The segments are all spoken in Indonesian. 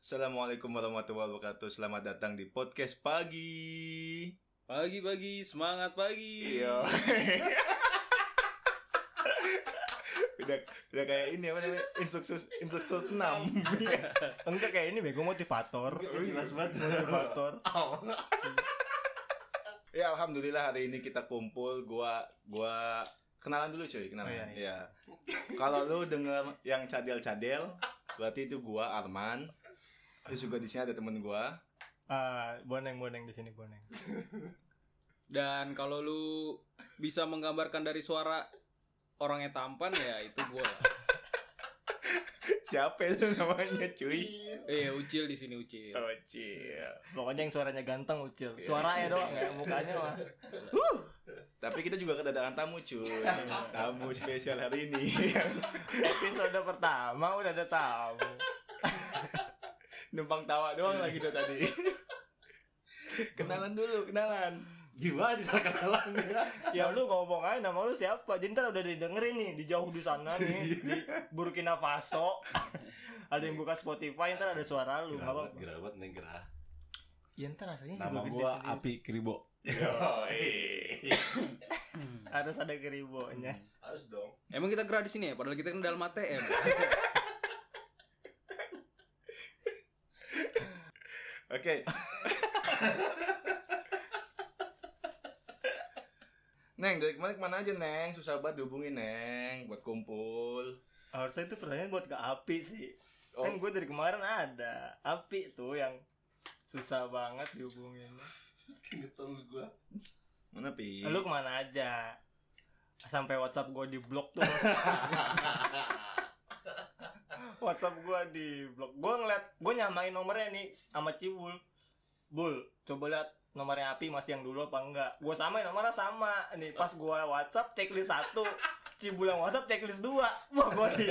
Assalamualaikum warahmatullahi wabarakatuh. Selamat datang di podcast pagi. Pagi-pagi, semangat pagi. Iya. udah udah kayak ini apa namanya? Instruksus instruksus 6. Enggak kayak ini bego motivator. Jelas banget motivator. ya alhamdulillah hari ini kita kumpul. Gua gua kenalan dulu cuy, kenalan. Oh, iya, iya. Ya. Kalau lu denger yang cadel-cadel, berarti itu gua Arman. Terus juga di sini ada temen gua. Ah, boneng boneng di sini boneng. Dan kalau lu bisa menggambarkan dari suara orangnya tampan ya itu gua. Siapa itu namanya cuy? Eh, Iya. Ucil di sini Ucil. Oh, cia. Pokoknya yang suaranya ganteng ucil. Suaranya doang ya, mukanya mah. Tapi kita juga kedatangan tamu cuy Tamu spesial hari ini Episode pertama udah ada tamu. Numpang tawa doang lagi tuh tadi Kenalan dulu, kenalan Gimana cara kenalan ya? Ya lu ngomong aja nama lu siapa? Jadi ntar udah didengerin nih di jauh di sana nih di Burkina Faso. ada yang buka Spotify ntar ada suara lu nggak Gerawat, apa-apa. gerawat, neng gerah. Ya ntar rasanya Nama juga gede gua sendiri. Api Kribo. Oh, iya. harus ada keribonya. Harus dong. Emang kita gerah di sini ya, padahal kita kan dalam ATM. Oke Neng, dari kemarin kemana aja Neng? Susah banget dihubungin Neng Buat kumpul Harusnya itu pertanyaan buat ke Api sih. Oh. Kan gue dari kemarin ada Api tuh yang susah banget dihubungin. Keingetan lu gua. Mana Pi? Lu kemana aja? Sampai WhatsApp gue di blok tuh. WhatsApp gue di blok. Gue ngeliat, gue nyamain nomornya nih sama Cibul. Bul, coba lihat nomornya Api masih yang dulu apa enggak? Gue samain nomornya sama. Nih pas gue WhatsApp checklist satu, Cibul yang WhatsApp checklist dua. Wah gue di.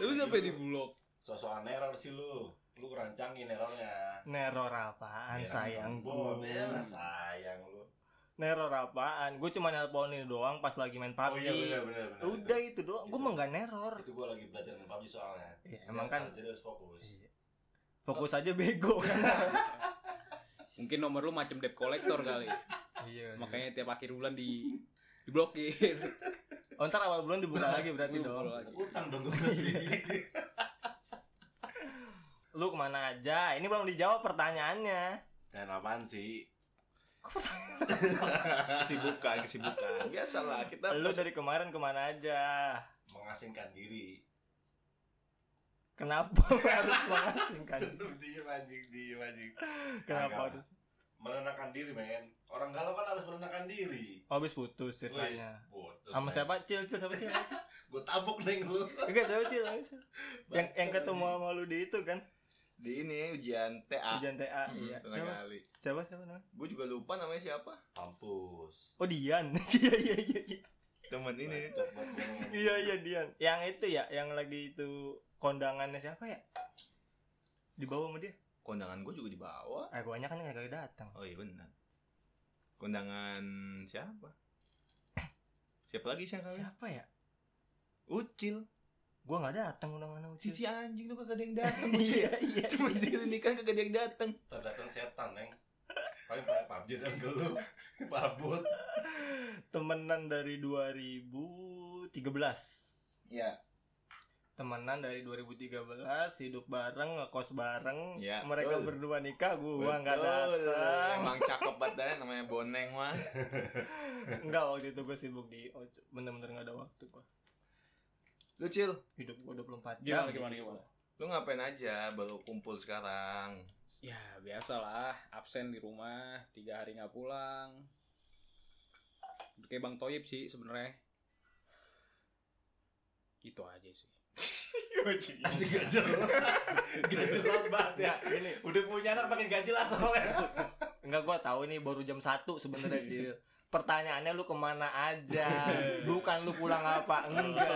Tapi sampai di blok. Sosokan error sih lu. Lu rancangin errornya. Neror apaan sayang Bon, gue? ya Hmm. sayang lu. Neror apaan? Gue cuma nelponin doang pas lagi main PUBG. Oh iya benar benar benar. Udah itu doang. Gue Itu. mah nggak neror. Itu gua lagi belajar dengan PUBG soalnya. Ya, emang kan jadi harus fokus. fokus aja bego kan. Mungkin nomor lu macam debt collector kali. iya. Makanya Makanya tiap akhir bulan di diblokir. oh, ntar awal bulan dibuka lagi berarti Lu Iya, dong. blok lagi. Utang dong gua berarti. iya. Lu kemana aja? Ini belum dijawab pertanyaannya. Dan apaan sih? Kesibukan, kesibukan Biasalah, Iya, kita Lu dari kemarin kemana aja? Mengasingkan diri. Kenapa harus mengasingkan? Diem anjing, diem anjing. Kenapa Agak. harus? Menenangkan diri, men. Orang galau kan harus menenangkan diri. Oh, habis putus Wis, ceritanya. putus, Sama men. siapa? Cil, cil, sama siapa? Gua tabok neng lu. Enggak, siapa Cil? Sama Cil? Yang yang ketemu sama lu di itu kan? Di ini ujian TA Ujian TA. Hmm, Iya. tenang Siapa? kali Siapa siapa namanya? Gue juga lupa namanya siapa Kampus. Oh, Dian. Iya, iya, iya, iya. Temen ini Bacot banget gua ngomong. Iya iya Dian. Yang itu ya, yang lagi itu kondangannya siapa ya? Di bawah sama dia. Kondangan gue juga dibawa Eh guanya kan nggak kagak datang. Oh iya benar. Kondangan siapa? Siapa lagi sih yang kawin? Siapa ya? Ucil. Gua nggak datang undangan Ucil. Sisi anjing tuh kagak ada yang datang. Ucil. iya iya. Cuma jadi nikah kagak ada yang datang. Terdatang setan, neng. Paling paling PUBG dan geluh. Mabut. Temenan dari 2013. Iya. Temenan dari 2013, hidup bareng, ngekos bareng. Ya, betul. Mereka berdua nikah, gua nggak Betul. datang. Emang cakep banget dah namanya Boneng mah. Enggak waktu itu gua sibuk di oh, bener-bener nggak ada waktu gua. Lu Cil, Hidup gua 24 jam. Gimana gimana gimana. lu ngapain aja baru kumpul sekarang? Ya biasalah, absen di rumah, tiga hari nggak pulang. Kayak Bang Toyib sih sebenarnya. Itu aja sih. Anjing Iya. gak jelas. Gak jelas banget ya. Ya, ini Udah punya anak makin gak jelas soalnya. Enggak gua tahu nih baru jam 1 sebenarnya Cil. Pertanyaannya lu kemana aja? Bukan lu pulang apa? Enggak.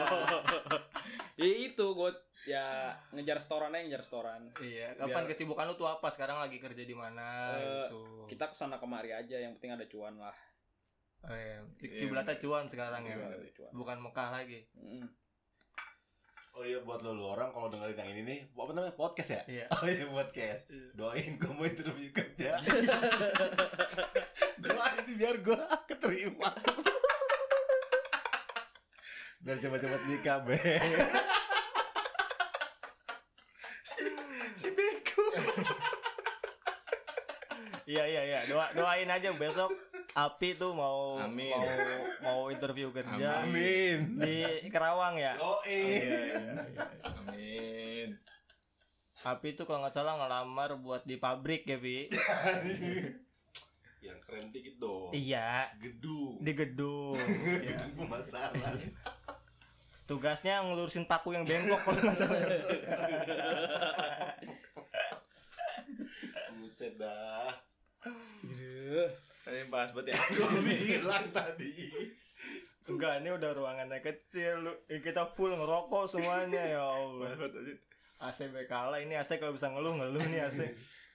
ya itu gue ya ngejar setoran aja ngejar setoran. Iya, kapan Biar- kesibukan lu tuh apa? Sekarang lagi kerja di mana Eh, gitu. Kita kesana kemari aja, yang penting ada cuan lah. Iya. Eh, kiblatnya cuan sekarang ya. Ada cuan. Bukan Mekah lagi. Mm. Oh iya buat lo, lo orang kalau dengerin yang ini nih, apa namanya podcast ya? Iya. Oh iya podcast. Doain gue mau interview kerja. Doain sih biar gue keterima. biar cepat-cepat nikah be. Iya iya iya. Doa doain aja besok Api tuh mau Amin. mau mau interview kerja Amin. di Kerawang ya. Doain. Iya, iya, iya. Amin. Api tuh kalau nggak salah ngelamar buat di pabrik ya bi. yang keren dikit Oh. dong. iya Gedung. di gedung. Iya. Gedung pemasaran. Tugasnya ngelurusin paku yang bengkok kalau nggak salah. Buset dah. Aduh. Tadi bahas buat ya. Gue bilang tadi. Enggak, ini udah ruangannya kecil. Lu- eh, Kita full ngerokok semuanya ya Allah. Bahas buat aja. AC berkala ini AC kalau bisa ngeluh ngeluh nih AC.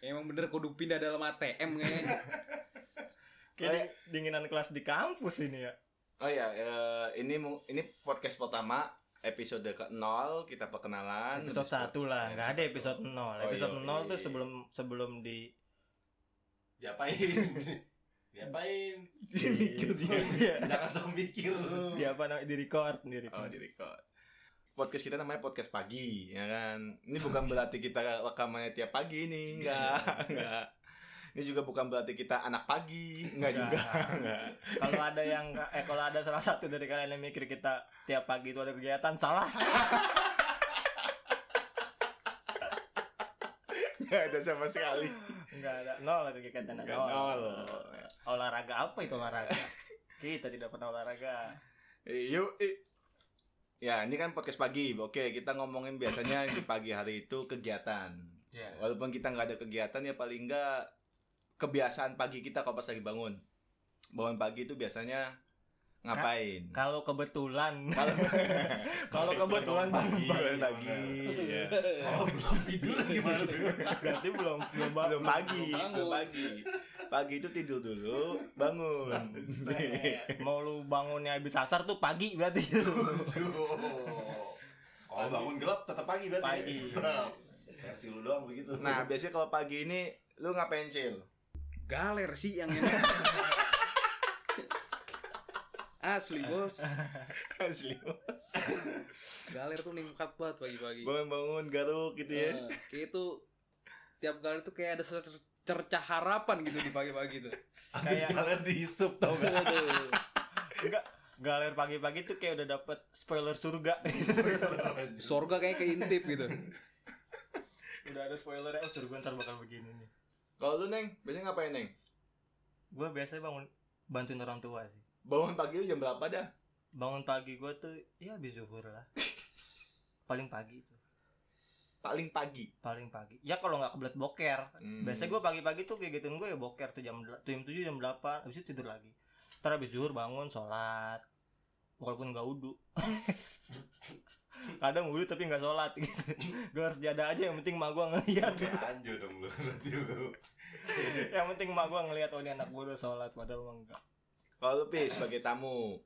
Emang bener kudu pindah dalam ATM kayaknya. Kayak dinginan kelas di kampus ini ya. Oh ya, eh, ini mu- ini podcast pertama episode ke nol kita perkenalan. Kan Episode Habis itu- satu lah, nggak ada episode nol. Oh, Episode iya, nol iya. tuh sebelum sebelum di Diapain? Diapain? Mikir di, dia. Jangan sok mikir lu. di apa namanya di record, di Oh, record. di record. Podcast kita namanya podcast pagi, ya kan? Ini bukan berarti kita rekamannya tiap pagi ini, enggak, enggak. Ini juga bukan berarti kita anak pagi, enggak juga, enggak. Kalau ada yang nggak- eh kalau ada salah satu dari kalian yang mikir kita tiap pagi itu ada kegiatan salah. Enggak ada sama sekali. Enggak ada nol ada kegiatan ada Enggak nol. Olahraga apa itu olahraga? Kita tidak pernah olahraga. Eh, Yuk, eh. ya ini kan podcast pagi. Oke, kita ngomongin biasanya di pagi hari itu kegiatan. Ya. Walaupun kita nggak ada kegiatan ya paling nggak kebiasaan pagi kita kalau pas lagi bangun. Bangun pagi itu biasanya ngapain? Kalau kebetulan, Kalau kalau kebetulan bangun bangun pagi, pagi, ya. Kalau Oh, belum tidur gimana? berarti belum belum bangun. belum pagi, Belum bangun. belum pagi. Pagi itu tidur dulu, bangun. Iya. Mau lu bangunnya habis asar tuh pagi berarti. Kalau bangun gelap tetap pagi berarti. Pagi. Tetap. Versi lu doang begitu. nah, biasanya kalau pagi ini lu ngapain cil? Galer sih yang enak. Asli bos, Asli. galer tuh ningkat banget pagi-pagi. Bangun-bangun garuk gitu ya. Eh, kayak itu tiap galer tuh kayak ada cer- cercah harapan gitu di pagi-pagi tuh. habis kayak- kalian dihisap tau gak? Aduh. Galer pagi-pagi tuh kayak udah dapet spoiler surga. Sorga kayak keintip gitu. udah ada spoilernya, oh surga ntar bakal begini nih. Kalau lu neng, biasanya ngapain neng? Gue biasanya bangun bantuin orang tua sih. Bangun pagi lu jam berapa dah? Bangun pagi gue tuh ya habis zuhur lah. Paling pagi itu, Paling pagi. paling pagi. Ya kalau nggak kebelet boker. Hmm. Biasanya gue pagi-pagi tuh kayak gituin gue ya boker tuh jam del- jam 7 jam 8 habis itu tidur lagi. Ntar habis zuhur bangun sholat walaupun nggak wudhu kadang wudhu tapi nggak sholat gitu. gue harus jada aja yang penting mak gue ngeliat Anjir dong lu nanti lu. yang penting mak gue ngeliat oh ini anak gue udah sholat padahal mah enggak Kalau lu Pi, sebagai tamu,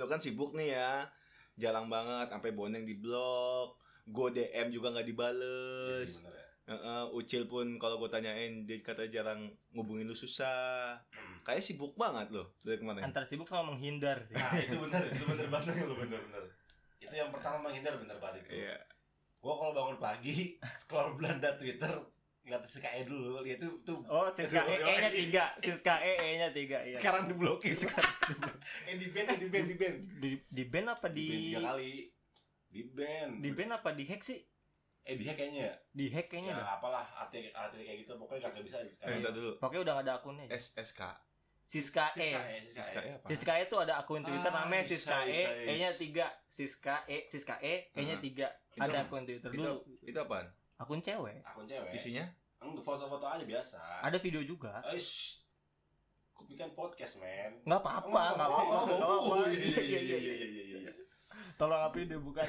lu kan sibuk nih ya, jarang banget sampai boneng di blok, gue DM juga nggak dibales. Bener ya? Heeh, Ucil pun kalau gue tanyain dia kata jarang ngubungin lu susah. Hmm. Kayak sibuk banget loh dari kemarin. antar sibuk sama menghindar sih Nah itu bener, itu bener banget lu bener bener. Itu yang pertama menghindar bener banget itu. Iya. Gua kalau bangun pagi scroll Belanda Twitter ngeliat si KE dulu, lihat itu tuh oh siska e e nya tiga siska e e nya tiga iya sekarang diblokir sekarang. eh di band, eh, di band, di band. di di band apa Di band di tiga kali. Di band. di band apa di hack sih Eh dia kayaknya. di hack kayaknya ya dah apalah arti arti kayak gitu pokoknya kagak bisa Eh, sekarang. ntar dulu. pokoknya udah nggak ada akunnya Eh, aja. SSK, siska e SSK ya apa? Siska E itu ada akun Twitter Ah, namanya bisa, Siska E, bisa, bisa. E-nya 3. Siska E, Siska E, Hmm. E-nya 3. Itu Ada apa? akun Twitter Itu- dulu. Itu apaan? Akun cewek. Akun cewek. Isinya? Enggak foto-foto aja biasa. Ada video juga. Eh, shh. Kupikan podcast, men. Enggak apa-apa, Oh, enggak oh, apa-apa, nggak apa-apa. Iya iya iya iya iya iya, iya. Tolong api dibuka.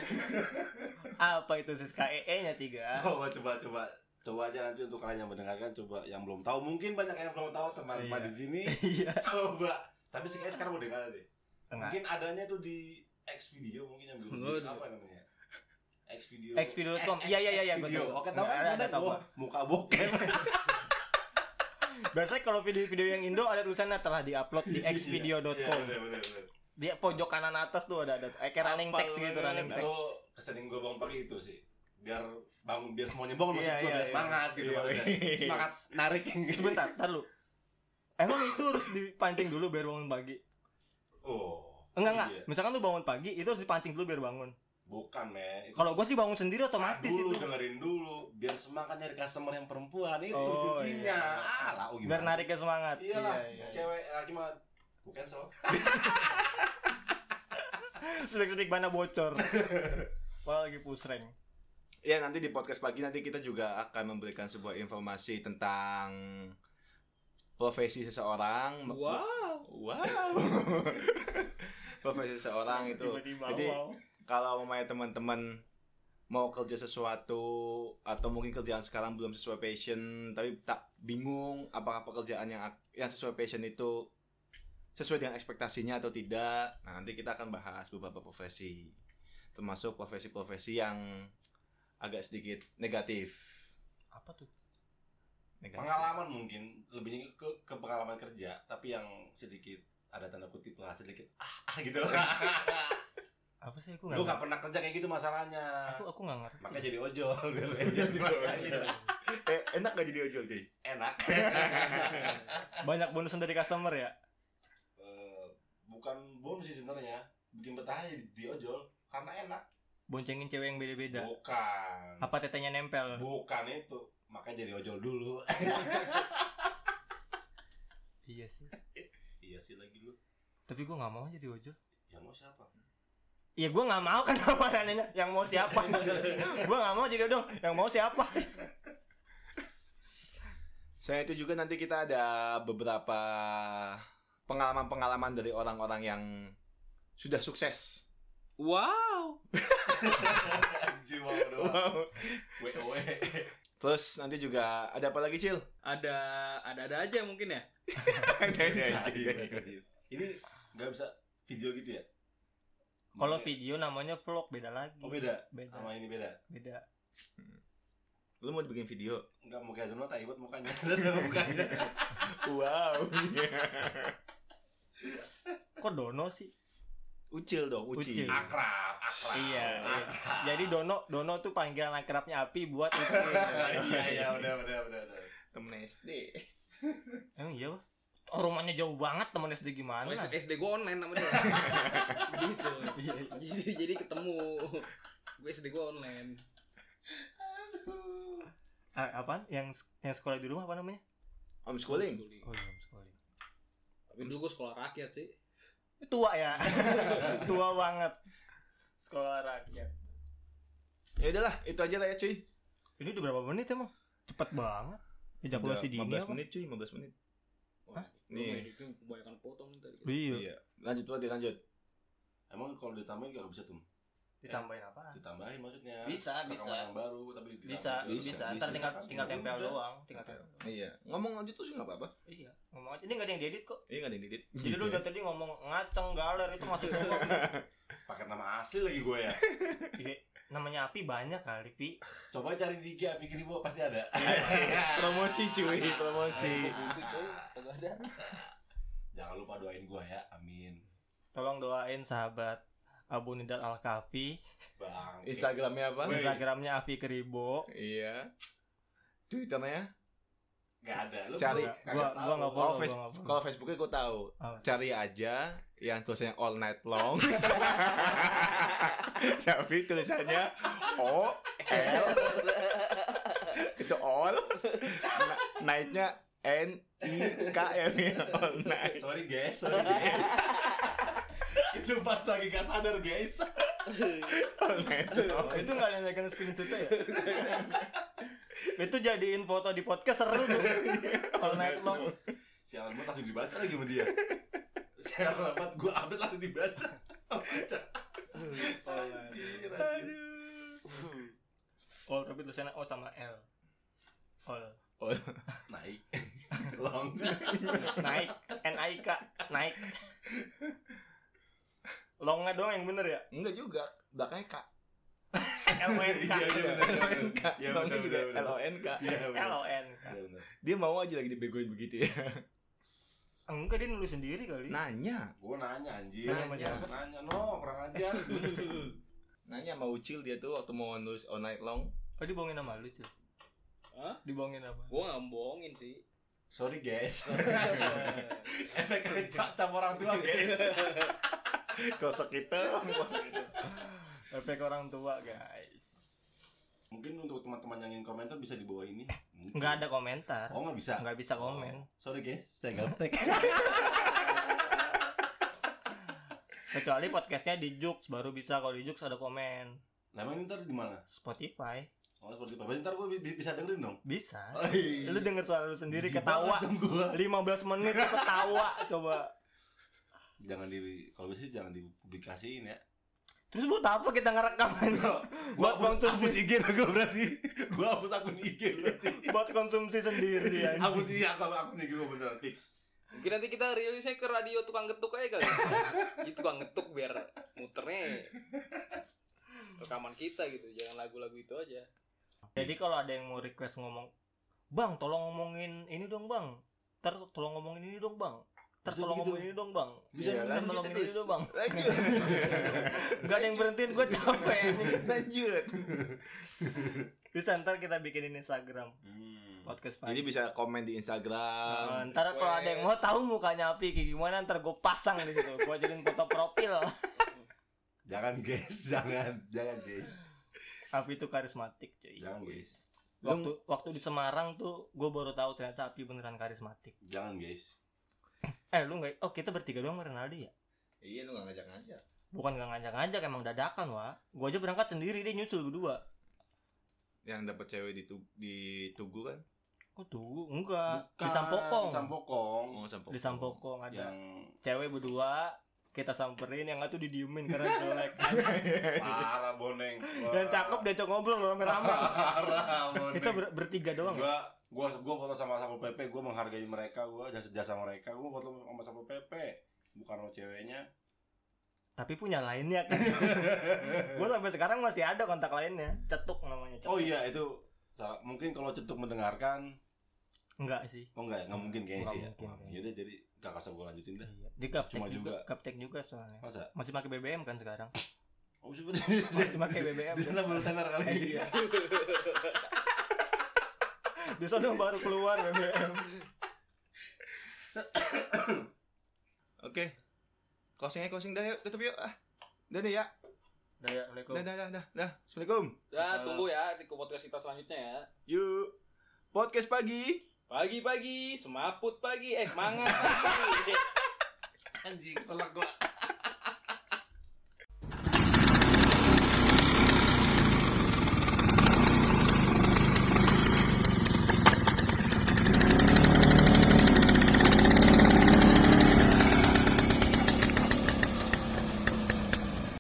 Apa itu Siska E, E-nya 3? Coba coba coba coba aja nanti untuk kalian yang mendengarkan coba yang belum tahu mungkin banyak yang belum tahu Iya. teman-teman di sini Iya. coba tapi sih kayaknya sekarang udah nggak ada deh Enggak. mungkin adanya tuh di X video mungkin yang belum Waduh. apa namanya Xvideo. Xvideo.com. Iya iya iya iya gua Video. tahu. Oke, tahu Nggak kan ada, ada ada tahu gua. gua. Iya, Muka bokep. Biasanya kalau video-video yang Indo ada tulisannya telah diupload di Iya, xvideo.com. bener, bener, bener. Di pojok kanan atas tuh ada ada eh, kayak running Apa text gitu lu- running text. Aku kesering gue bangun pagi itu sih. Biar bangun biar semuanya bangun maksud Iya, gue iya, biar iya. semangat gitu Iya, maksudnya. iya. Semangat narik gitu. Sebentar, ntar lu. Emang itu harus dipancing dulu biar bangun pagi? Oh. Enggak enggak. iya. Misalkan lu bangun pagi, itu harus dipancing dulu biar bangun. Bukan, men. Itu Kalau gua sih bangun sendiri otomatis dulu itu. dengerin dulu biar semangat nyari customer yang perempuan itu Oh, iya. kuncinya. Ah, lau gimana? Biar narik ke semangat. Iyalah, iya, iya. cewek lagi mah bukan so. Sedik-sedik mana bocor. Malah lagi pusreng. Ya nanti di podcast pagi nanti kita juga akan memberikan sebuah informasi tentang profesi seseorang. Wow. Wow. profesi seseorang itu. Tiba-tiba Jadi- wow. kalau mamanya teman-teman mau kerja sesuatu atau mungkin kerjaan sekarang belum sesuai passion tapi tak bingung apakah pekerjaan yang ak- yang sesuai passion itu sesuai dengan ekspektasinya atau tidak nah nanti kita akan bahas beberapa profesi termasuk profesi-profesi yang agak sedikit negatif Apa tuh? negatif. Pengalaman mungkin lebih ke, ke pengalaman kerja tapi yang sedikit ada tanda kutip lah sedikit ah, ah gitu Apa sih aku lu enggak? gak pernah kerja kayak gitu masalahnya Aku aku enggak ngerti. makanya jadi ojol biar enak dimarahin. eh, enak gak jadi ojol cuy enak Banyak bonusan dari customer ya? Eh, bukan bonus sih sebenarnya bikin betah aja di, di ojol karena enak Boncengin cewek yang beda-beda. bukan Apa tetenya nempel? bukan itu makanya jadi ojol dulu Iya sih. iya sih lagi lu Tapi gua nggak mau jadi ojol. ya mau siapa Iya gua nggak mau kenapa nanya yang mau siapa? gua nggak mau jadi ojol. Yang mau siapa? Saya itu juga nanti kita ada beberapa pengalaman-pengalaman dari orang-orang yang sudah sukses. Wow. jiwa doang wewe Terus nanti juga ada apa lagi, Cil? Ada ada-ada aja mungkin ya. Nah, gitu. ini nggak bisa video gitu ya Kalau Makanya- video namanya vlog beda lagi. oh beda Beda. sama ini beda Beda. Lu mau dibikin video? nggak mau kayak Donald Taibat mukanya Lihat mukanya Wow. Kok Dono sih? Ucil dong, Ucil. Ah, Ucil. akrab akrab Iya, iya. akrab. Jadi Dono Dono tuh panggilan akrabnya api buat itu. iya iya udah udah udah udah Temen SD. Emang iya Pak? Oh, rumahnya jauh banget temen SD gimana? Wes, SD gue online namanya. gitu. Jadi jadi ketemu. Gue SD gue online. Ah, apaan? Yang yang sekolah di rumah apa namanya? Homeschooling. Oh, iya, sekolah. Tapi dulu gue sekolah rakyat sih. Tua ya. Tua banget. Sekolah rakyat. Ya udahlah, itu aja lah ya, cuy. Ini udah berapa menit emang? Cepet banget. Udah Ejakulasi dini 15 apa? menit, cuy, 15 menit. Wah, Nih. itu kebanyakan potong gitu. tadi. Iya. Iya. Lanjut berarti lanjut. emang kalau ditambahin nggak bisa tuh Ditambahin apa? ditambahin maksudnya Bisa, Rekaman bisa. yang baru tapi ditambahin Bisa, juga. bisa. bisa. Ntar tinggal Bisa. tinggal tempel Udah. doang, tinggal tempel. Iya. Ngomong lanjut terus enggak apa-apa. Iya. Ngomong aja. Ini enggak ada yang diedit kok. Iya enggak ada yang didit. Jadi lu udah tadi ngomong ngaceng galer itu masuk semua. pakai nama asli lagi gue ya Iya. Namanya api banyak kali, Pi. coba cari di IG pikir ibu pasti ada promosi, cuy, Iya promosi. jangan lupa doain gue ya amin Tolong doain sahabat Abu Nidal Al Kafi, bang Instagramnya apa? Weh. Instagramnya Afi Keribo. Iya. Twitternya? nggak ada lu Cari. gua- Gua gua kasih tahu. Oh, enggak follow, gua Face- nggak follow. Kalau Facebooknya gue tahu. Apa? Cari aja yang tulisannya all night long. Tapi tulisannya O L itu all. Na- Nightnya N I K L all night. Eh, sorry guys sorry guys itu pas lagi gak sadar guys All night long. Oh, Iya, itu enggak ada yang megang screenshot-nya ya? itu jadiin foto di podcast seru tuh. All night long. siaran gue langsung dibaca lagi sama dia siaran rapat gue update langsung dibaca baca Anjir, anjir. All Oh, tapi tulisannya O sama L. All. naik long Naik N I K, naik. Longnya doang yang bener ya? Enggak juga. Belakangnya K. LONK Iya, iya, benar, benar. LONK. Iya, Namanya benar, juga E. benar, benar. LONK. Iya, benar. LONK Iya, benar. Dia mau aja lagi dibegoin begitu ya. enggak dia nulis sendiri kali Nah. Nanya, Gua nanya anjir. Nanya. Nanya, no, kurang ajar. nanya sama Ucil dia tuh waktu mau nulis all night long. oh dibohongin sama lu cuy Hah? dibohongin apa Gue nggak bohongin sih. Sorry guys. Efek kecak sama orang tua guys. Kosok kita. efek orang tua guys Mungkin untuk teman-teman yang ingin komentar bisa di bawah ini. nggak ada komentar Oh, nggak bisa. nggak bisa komen Sorry guys, saya gaptek. kecuali podcastnya di Jux baru bisa kalau di Jux ada komen Nah, emang ini ntar di mana? Spotify Oh, seperti apa? Ntar gue bisa dengerin dong. bisa Ay, lu denger suara lu sendiri jijik ketawa banget Oh, iya. dong gua. 15 menit lu ketawa coba Jangan di kalau bisa jangan dipublikasiin ya. terus buat apa kita ngerekam anjing? Gua buat Bang Cun hapus IG lah gua berarti. Gua hapus akun IG berarti. buat konsumsi sendiri Iya, Hapus anjing. ini akun akun IG gua bener fix. Mungkin nanti kita rilisnya ke radio tukang ketuk aja kali. Itu tukang ketuk biar muternya rekaman kita gitu. Jangan lagu-lagu itu aja. jadi kalau ada yang mau request ngomong bang tolong ngomongin ini dong bang ter tolong ngomongin ini dong bang ter Bisa tolong begitu. ngomongin ini dong bang Bisa Iya, ter bener. lanjut tolong ini terus. dong bang Lanjut. Gak ada yang berhentiin gue capek anjing. Lanjut. Bisa ntar kita bikinin Instagram Hmm. Podcast Jadi um, pagi bisa komen di Instagram. Nah, ntar kalau ada yang mau tahu mukanya Api kayak gimana ntar gue pasang di situ. Gue jadiin foto profil. Jangan guys, jangan, jangan guys. Api itu karismatik cuy. Jangan guys. Waktu waktu di Semarang tuh gue baru tahu ternyata Api beneran karismatik. Jangan guys. Eh lu nggak? Oh kita bertiga doang sama Renaldi ya? Iya lu gak ngajak ngajak. Bukan nggak ngajak-ngajak emang dadakan wa. Gue aja berangkat sendiri dia nyusul berdua. Yang dapat cewek di tu- di Tugu kan? Oh tuh enggak. Di Bukan, Sampokong. Di Ya. Sampokong. Oh, Sampokong. Di Sampokong ada Yang cewek berdua kita samperin yang nggak tuh didiemin karena jelek parah boneng. dan cakep dia cok ngobrol rame-rame Parah boneng. kita ber- bertiga doang ya? gua gua gua foto sama Satpol PP gua menghargai mereka gua jasa jasa mereka gua foto sama Satpol PP bukan sama ceweknya tapi punya lainnya kan gue sampai sekarang masih ada kontak lainnya cetuk namanya cetuk oh iya itu salah. mungkin kalau cetuk mendengarkan enggak sih oh enggak ya? enggak mungkin kayaknya Enggak sih ya mungkin, Wah, kayaknya. jadi jadi kakak saya gua lanjutin dah Iya. dia gaptek Cuma juga, juga. gaptek juga soalnya masa masih pakai BBM kan sekarang oh sebenarnya masih pakai BBM di sana baru tenar kali iya di sana baru keluar BBM Oke. Closingnya closing dah yuk, tutup yuk. Ah. Dah nih ya. Dah dah dah dah. dah. Assalamualaikum. Ya, tunggu ya di podcast kita selanjutnya ya. Yuk. Podcast pagi. Pagi-pagi, semaput pagi, eh semangat pagi. anjing selak gua